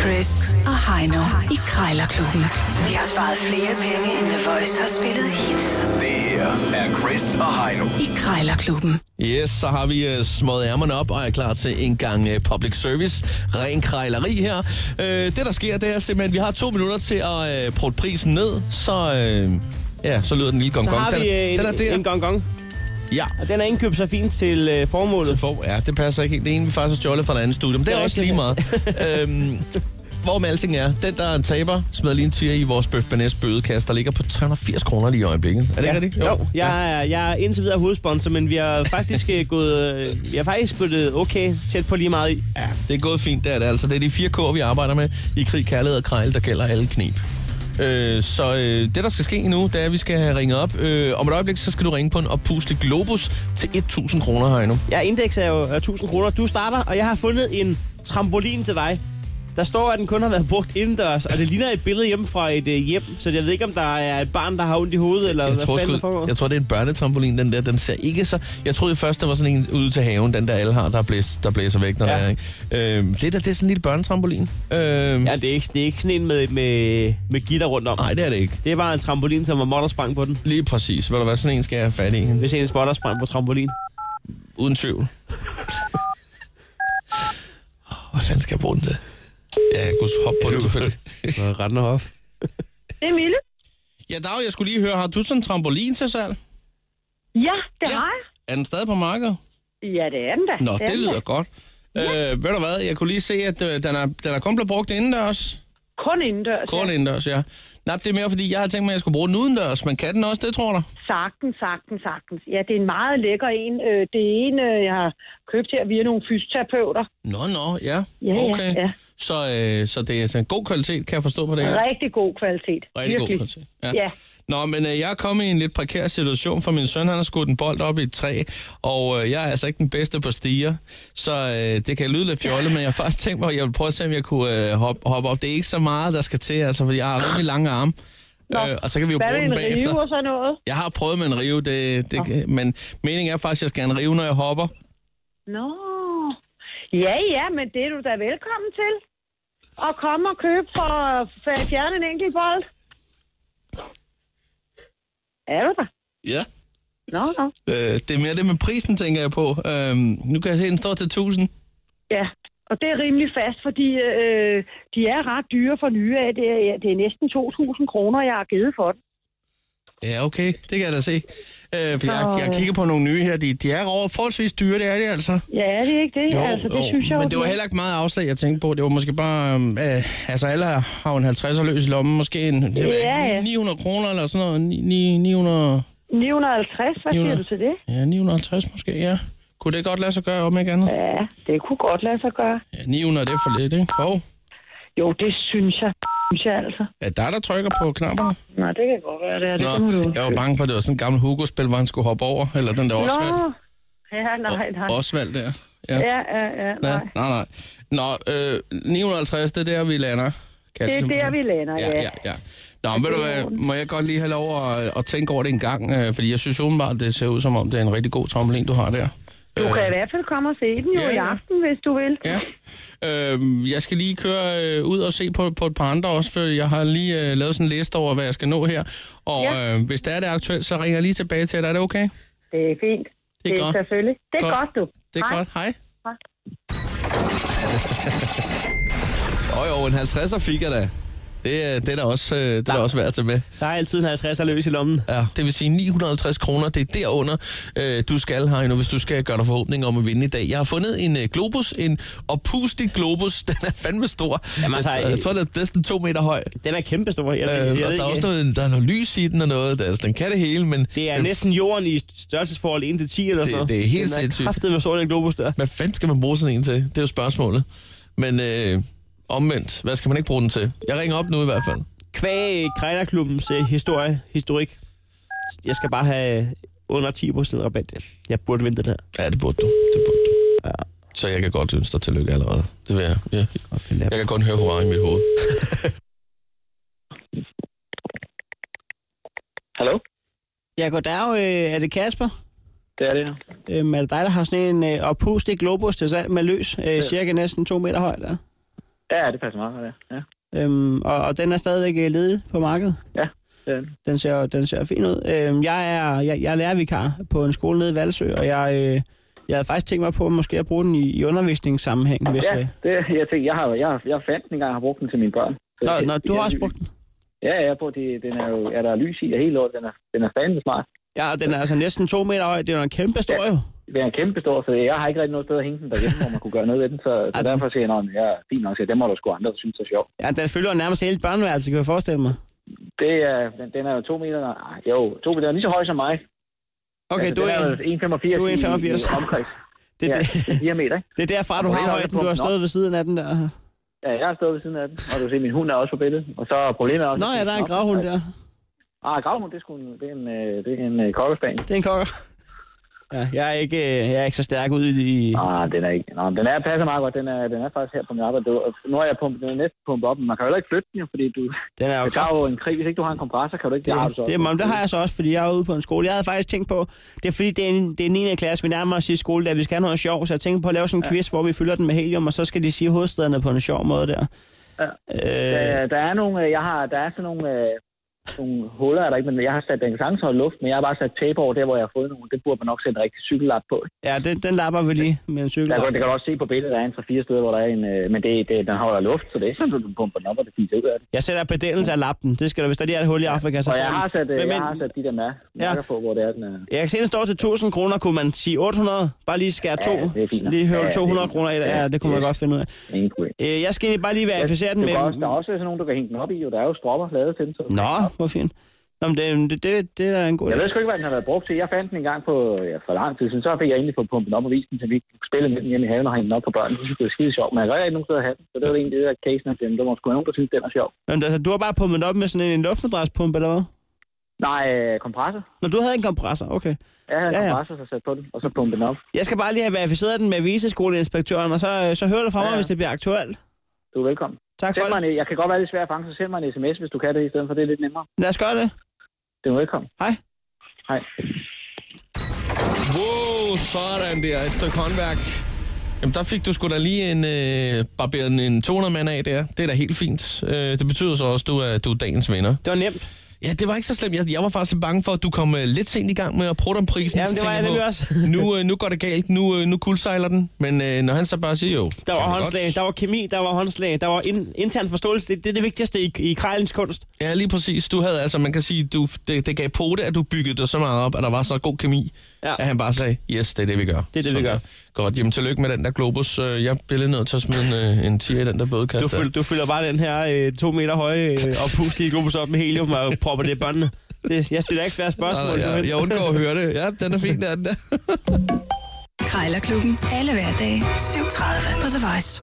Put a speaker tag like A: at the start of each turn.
A: Chris og Heino i Krejlerklubben. De har sparet flere penge, end The Voice har spillet hits
B: Det her er Chris og Heino.
A: i Krejlerklubben.
C: Yes, så har vi uh, smået ærmerne op og er klar til en gang uh, public service. Ren krejleri her. Uh, det, der sker, det er simpelthen, at vi har to minutter til at uh, prøve prisen ned, så... Uh, ja, så lyder den lille gong
D: Så
C: gong.
D: har vi
C: den,
D: øh,
C: den er
D: en,
C: der.
D: en gong gong,
C: Ja.
D: og den er indkøbt så fint til øh, formålet.
C: For, ja, det passer ikke helt. Det er en, vi faktisk har stjålet fra en anden studie, men det er,
D: Det er
C: også lige meget. øhm, hvor med alting er, den der er en taber, smider lige en tier i vores bøf Banæs bødekasse, der ligger på 380 kroner lige i øjeblikket. Er det ikke rigtigt?
D: Jo, jo jeg, er, jeg er indtil videre hovedsponsor, men vi har faktisk øh, gået, øh, vi har faktisk gået øh, okay tæt på lige meget i.
C: Ja, det er gået fint, det er det. Altså, det er de fire kår, vi arbejder med i krig, kærlighed og krejl, der gælder alle knep. Øh, så øh, det, der skal ske nu, det er, at vi skal have ringet op. Øh, om et øjeblik, så skal du ringe på en oppustelig globus til 1.000 kroner her endnu.
D: Ja, indeks er jo er 1000 kroner. Du starter, og jeg har fundet en trampolin til dig. Der står, at den kun har været brugt indendørs, og det ligner et billede hjemme fra et øh, hjem, så jeg ved ikke, om der er et barn, der har ondt i hovedet, eller
C: Jeg
D: hvad
C: tror,
D: fanden der
C: sgu,
D: foregår.
C: jeg tror, det er en børnetrampolin, den der. Den ser ikke så... Jeg troede først, der var sådan en ude til haven, den der alle har, der, blæs, der blæser væk, når ja.
D: Ja.
C: der er, ikke? Øh, det der, det er sådan en lille børnetrampolin. Øh, ja.
D: Ja, det er, ikke, det er ikke sådan en med, med, med gitter rundt om.
C: Nej, det er det ikke.
D: Det er bare en trampolin, som var måtter sprang på den.
C: Lige præcis. Ved du hvad, sådan en skal jeg have fat i.
D: Hvis en spotter sprang på trampolin.
C: Uden tvivl. Hvad fanden skal jeg bruge den til? Ja, jeg kunne hoppe på det selvfølgelig.
D: Og Randen og Hof.
E: Det er Mille.
C: ja, Dag, jeg skulle lige høre, har du sådan en trampolin til salg?
E: Ja, det
C: Ja.
E: ja. har jeg.
C: Er den stadig på markedet?
E: Ja, det er den da.
C: Nå,
E: er
C: det
E: den
C: lyder
E: da.
C: godt. Øh, ved du hvad, jeg kunne lige se, at øh, den, er, den er kun blevet brugt indendørs.
E: Kun indendørs.
C: Kun
E: ja.
C: indendørs, ja. Nej, det er mere, fordi jeg har tænkt mig, at jeg skulle bruge den udendørs, men kan den også det, tror du?
E: Sagtens, sagtens, sagtens. Ja, det er en meget lækker en. Øh, Det er en, øh, jeg har købt her via nogle fysioterapeuter.
C: Nå, nå, ja.
E: Ja, ja,
C: okay.
E: ja.
C: Så, øh, så det er sådan god kvalitet, kan jeg forstå på det her.
E: Rigtig god kvalitet.
C: Rigtig god
E: Virkelig.
C: kvalitet.
E: Ja.
C: Nå, men øh, jeg er kommet i en lidt prekær situation, for min søn han har skudt en bold op i et træ, og øh, jeg er altså ikke den bedste på stiger, så øh, det kan lyde lidt fjollet, men jeg har faktisk tænkt mig, at jeg vil prøve at se, om jeg kunne øh, hoppe, hoppe op. Det er ikke så meget, der skal til, altså, fordi jeg har rimelig lange arme, øh, og så kan vi jo
E: Hvad
C: bruge
E: med
C: den
E: en rive
C: bagefter.
E: og sådan noget?
C: Jeg har prøvet med en rive, det, det, kan- men meningen er faktisk, at jeg skal have en rive, når jeg hopper.
E: Nå. Ja, ja, men det er du da velkommen til. Og komme og købe for for at fjerne en enkelt bold. Er du der?
C: Ja.
E: Nå, nå.
C: Øh, det er mere det med prisen, tænker jeg på. Øh, nu kan jeg se, at den står til 1000.
E: Ja, og det er rimelig fast, fordi øh, de er ret dyre for nye af. Det er, det er næsten 2.000 kroner, jeg har givet for den.
C: Ja, okay. Det kan jeg da se. Øh, for jeg, jeg kigger på nogle nye her. De, de er over forholdsvis dyre, det er de altså.
E: Ja, er det ikke det? altså, det synes jeg
C: men
E: jo,
C: det var heller ikke meget afslag, jeg tænkte på. Det var måske bare, øh, altså alle har jo en 50'er løs i lommen, måske en, det ved jeg
E: Ja,
C: ikke,
E: ja.
C: 900 kroner eller sådan noget, Ni- ni- 900,
E: 950, hvad siger
C: 900.
E: du til det?
C: ja, 950 måske, ja. Kunne det godt lade sig gøre, om ikke andet?
E: Ja, det kunne godt lade sig gøre.
C: Ja, 900, det er for lidt, ikke? Hov,
E: Jo, det synes jeg. Synes jeg altså.
C: er der, der trykker på knapperne?
E: Nej, det kan godt være, det er det. det må du
C: Nå, jeg var bange for, at det var sådan en gammel Hugo-spil, hvor han skulle hoppe over, eller den der Osvald.
E: Nå, ja, nej, nej.
C: Osvald der. Ja,
E: Ja, ja, ja,
C: ja.
E: nej.
C: nej, nej. Nå, øh, 950, det er der, vi lander. Kan
E: Det er
C: ligesom-
E: der, vi lander,
C: ja, ja. ja. Nå, men ved du hvad, må jeg godt lige have lov at, at tænke over det en gang, øh, fordi jeg synes åbenbart, det ser ud som om, det er en rigtig god trampolin, du har der.
E: Du kan i hvert fald komme og se den jo
C: Ja,
E: i
C: ja.
E: aften, hvis du vil.
C: Ja. Øh, jeg skal lige køre øh, ud og se på, på et par andre også, for jeg har lige øh, lavet sådan en liste over, hvad jeg skal nå her. Og
E: Ja.
C: øh, hvis der er det aktuelt, så ringer jeg lige tilbage til dig. Er det okay?
E: Det er fint.
C: Det er godt.
E: selvfølgelig. Det er
C: Godt.
E: godt, du.
C: Det er
E: Hej.
C: godt. Hej.
E: Hej.
C: Åh jo, en 50'er fik jeg da. Det, er- det er da også, øh, det er da også værd at tage med.
D: Der er altid en 50'er løs i lommen.
C: Ja. Det vil sige 950 kroner, det er derunder, øh, du skal, Heino, hvis du skal gøre dig forhåbninger om at vinde i dag. Jeg har fundet en øh, globus, en oppustig globus, den er fandme stor.
D: Jamen, altså,
C: jeg, jeg tror, den er næsten to meter høj.
D: Den er kæmpestor. Jeg,
C: Øh,
D: jeg,
C: og
D: jeg, ved
C: der er
D: ikke-
C: også noget, der er noget lys i den og noget, der, altså, den kan det hele, men øh,
D: Det er næsten jorden i størrelsesforhold 1 til 10 eller
C: Det-
D: sådan noget.
C: det er helt
D: den
C: sindssygt.
D: Den med sort en globus der.
C: hvad fanden skal man bruge sådan en til? Det er jo spørgsmålet. Men øh, omvendt, hvad skal man ikke bruge den til? Jeg ringer op nu i hvert fald.
D: Kvæg Krejlerklubbens øh, historie, historik. Jeg skal bare have øh, under 10 procent rabat. Jeg burde vente den her.
C: Ja, det burde du. Det burde du. Ja. Så jeg kan godt ønske dig tillykke allerede. Det vil jeg. Ja.
D: ja.
C: Jeg kan godt høre hurra i mit hoved.
F: Hallo?
D: Ja, goddag. Øh, er det Kasper?
F: Det er det nu.
D: Øhm, er det dig, der har sådan en øh, oppustig globus til salg med løs, øh, cirka næsten 2 meter høj der?
F: Ja, det passer meget godt, ja. Ja,
D: Øhm, og, og den er stadigvæk øh, ledig på markedet.
F: ja. det er den.
D: Den ser, den ser fin ud. Øhm, jeg, er, jeg, jeg er lærervikar på en skole nede i Valsø, og jeg, øh, jeg havde faktisk tænkt mig på måske at bruge den i, i undervisningssammenhæng. Hvis,
F: ja
D: øh,
F: det, jeg tænkte, jeg, har, jo- jeg, har- jeg fandt den engang, jeg har brugt den til mine børn. Så
D: Nå,
F: det-
D: nå, du har
F: jeg-
D: også brugt den.
F: Ja, ja, jeg bruger det, den er jo, er der lys i, og hele året, den er, den er fandme smart.
D: Ja, og den er altså næsten to meter høj. Det er jo en kæmpe stor, jo.
F: Den er kæmpe stor, så jeg har ikke rigtig noget sted at hænge den derhjemme, hvor man kunne gøre noget ved den. Så, så
D: Ej,
F: derfor siger jeg, at jeg er fint nok, så dem må der sgu andre, der synes er sjovt.
D: Ja, den fylder jo nærmest hele børneværelset, kan jeg forestille mig.
F: Det er, den, den er jo to meter, nej, jo, to meter, den er lige så høj som mig. Altså,
D: Okay, du
F: den
D: er,
F: jo 1,85
D: du er
F: i-
D: 1,85.
F: i omkreds.
D: det,
F: ja,
D: det,
F: diameter, ikke?
D: det er derfra, du
F: Og
D: har
F: problemet er,
D: højden.
F: at
D: Du har
F: den op.
D: stået ved siden af den der.
F: Ja, jeg har stået ved siden af den, og du kan se, min hund er også på billedet. Og så er problemet også...
D: Nå ja, der er en gravhund der.
F: Ah, gravhund, det er, sgu en, det er en, øh, det er en øh, kokkespaniel.
D: Det er en kokker. Ja, jeg er ikke, øh, jeg er ikke så stærk ude i...
F: Nej, Ah, den er ikke. Nå, men den er passer meget godt. Den er, den er faktisk her på min arbejde. Det var- Nu har jeg pumpet, den er næsten pumpet op, men man kan jo heller ikke flytte den, jo, fordi du
D: Den er jo
F: okay. jo en krig. Hvis ikke du har en kompressor, kan du ikke
D: Det,
F: har
D: er,
F: du så
D: det, er,
F: også.
D: men det har jeg så også, fordi jeg er ude på en skole. Jeg havde faktisk tænkt på, det er fordi, det er, en, det er 9. klasse, vi nærmer os i skole, der vi skal have noget sjov, så jeg tænkte på at lave sådan en quiz, hvor vi fylder den med helium, og så skal de sige hovedstederne på en sjov måde der. Ja. Øh,
F: Øh, der er nogle, øh, jeg har, der er sådan nogle, øh, nogle huller, er der ikke, men jeg har sat, den kan sagtens holde luft, men jeg har bare sat tape over der, hvor jeg har fået nogle. Det burde man nok sætte en rigtig cykellap på.
D: ja, den, den lapper vi lige med en cykel.
F: Der, kan- det kan du også se på billedet, der er en 3-4 steder, hvor der er en, øh, men det, det, den holder luft, så det er ikke sådan, at du pumper den op, og det fiser ud af det.
D: Jeg sætter bedændelse af lappen. Det skal der, hvis der lige er et hul i Afrika, så
F: Og
D: får
F: jeg
D: den.
F: har sat, øh,
D: Altså, Men-
F: jeg
D: men-
F: har sat de der mær- mærker på, hvor det er, den er.
D: Jeg kan se, den står til 1000 kroner. Kunne man sige 800? Bare lige skære
F: Ja,
D: to.
F: det er fint nok.
D: lige
F: Ja,
D: høre
F: det er
D: 200
F: fint.
D: kroner i det. Ja,
F: Ja,
D: det kunne man
F: ja.
D: godt finde ud af.
F: Ingen problem.
D: Øh, Jeg skal egentlig bare lige verificere den
F: Du
D: med...
F: kan også, der er også sådan nogen, du kan hænge den op i, jo. Der er jo stropper lavet til den. Så.
D: Nå, hvor fint. Nå, men det, det, det, det er en god
F: Jeg ved sgu ikke, hvad den har været brugt til. Jeg fandt den en gang på, ja, for lang tid siden. Så fik jeg egentlig fået pumpen op og vist den, så vi kunne spille med den hjemme i haven og hænge den op på børnene. Det synes jeg var skide sjovt, men jeg kan ikke nogen steder at have den. Så det var egentlig det der casen af den. Der var sgu nogen, der syntes, den var sjov.
D: Men altså, du har bare pumpet den op med sådan en luftmadraspumpe, eller hvad?
F: Nej, øh, kompressor.
D: Når du havde en kompressor, okay.
F: Jeg havde en
D: Ja, ja.
F: kompressor, så satte på den, og så pumpede den op.
D: Jeg skal bare lige have verificeret den med viseskoleinspektøren, og så, øh, så hører du fra
F: Ja,
D: mig,
F: ja.
D: hvis det bliver aktuelt.
F: Du er velkommen.
D: Tak for
F: Send mig
D: det.
F: en, e- jeg kan godt være lidt svær at fange, så send mig en sms, hvis du kan det i stedet for. Det er lidt nemmere.
D: Lad os gøre det.
F: Det er velkommen.
D: Hej.
F: Hej.
C: Wow, sådan der. Et stykke håndværk. Jamen, der fik du sgu da lige en, øh, barberet en- en 200 mand af der. Det er da helt fint. Øh, det betyder så også, at du er, du er dagens vinder.
D: Det var nemt.
C: Ja, det var ikke så slemt. Jeg, jeg var faktisk lidt bange for, at du kom øh, lidt sent i gang med at prutte om prisen.
D: Jamen, det
C: Så
D: var
C: tænkte
D: jeg
C: på,
D: nemlig også.
C: nu, øh, nu går det galt. Nu, øh, nu kuldsejler den. Men øh, når han så bare siger jo...
D: Der var
C: kan man
D: håndslag,
C: godt.
D: der var kemi, der var håndslag, der var in, intern forståelse. Det, det er det vigtigste i, i krejlens kunst.
C: Ja, lige præcis. Du havde altså, man kan sige, du, det, det gav på det, at du byggede dig så meget op, at der var så god kemi,
D: Ja.
C: ja. at han bare sagde, yes, det er det, vi gør.
D: Det er det, vi
C: Sådan
D: gør.
C: der. Godt, jamen tillykke med den der Globus. Øh, Jeg bliver lidt nødt til at smide en, øh, en 10 i den der
D: Du,
C: bødekasse.
D: fyld, du fylder bare den her øh, to meter høje øh, og pustige globus op med helium og propper det i børnene. Det, jeg stiller ikke færre spørgsmål.
C: Nej, nej, jeg, jeg undgår at høre det. Ja, den er fin, der er den der.
A: Krejlerklubben. Alle hverdage. 7.30 på The Voice.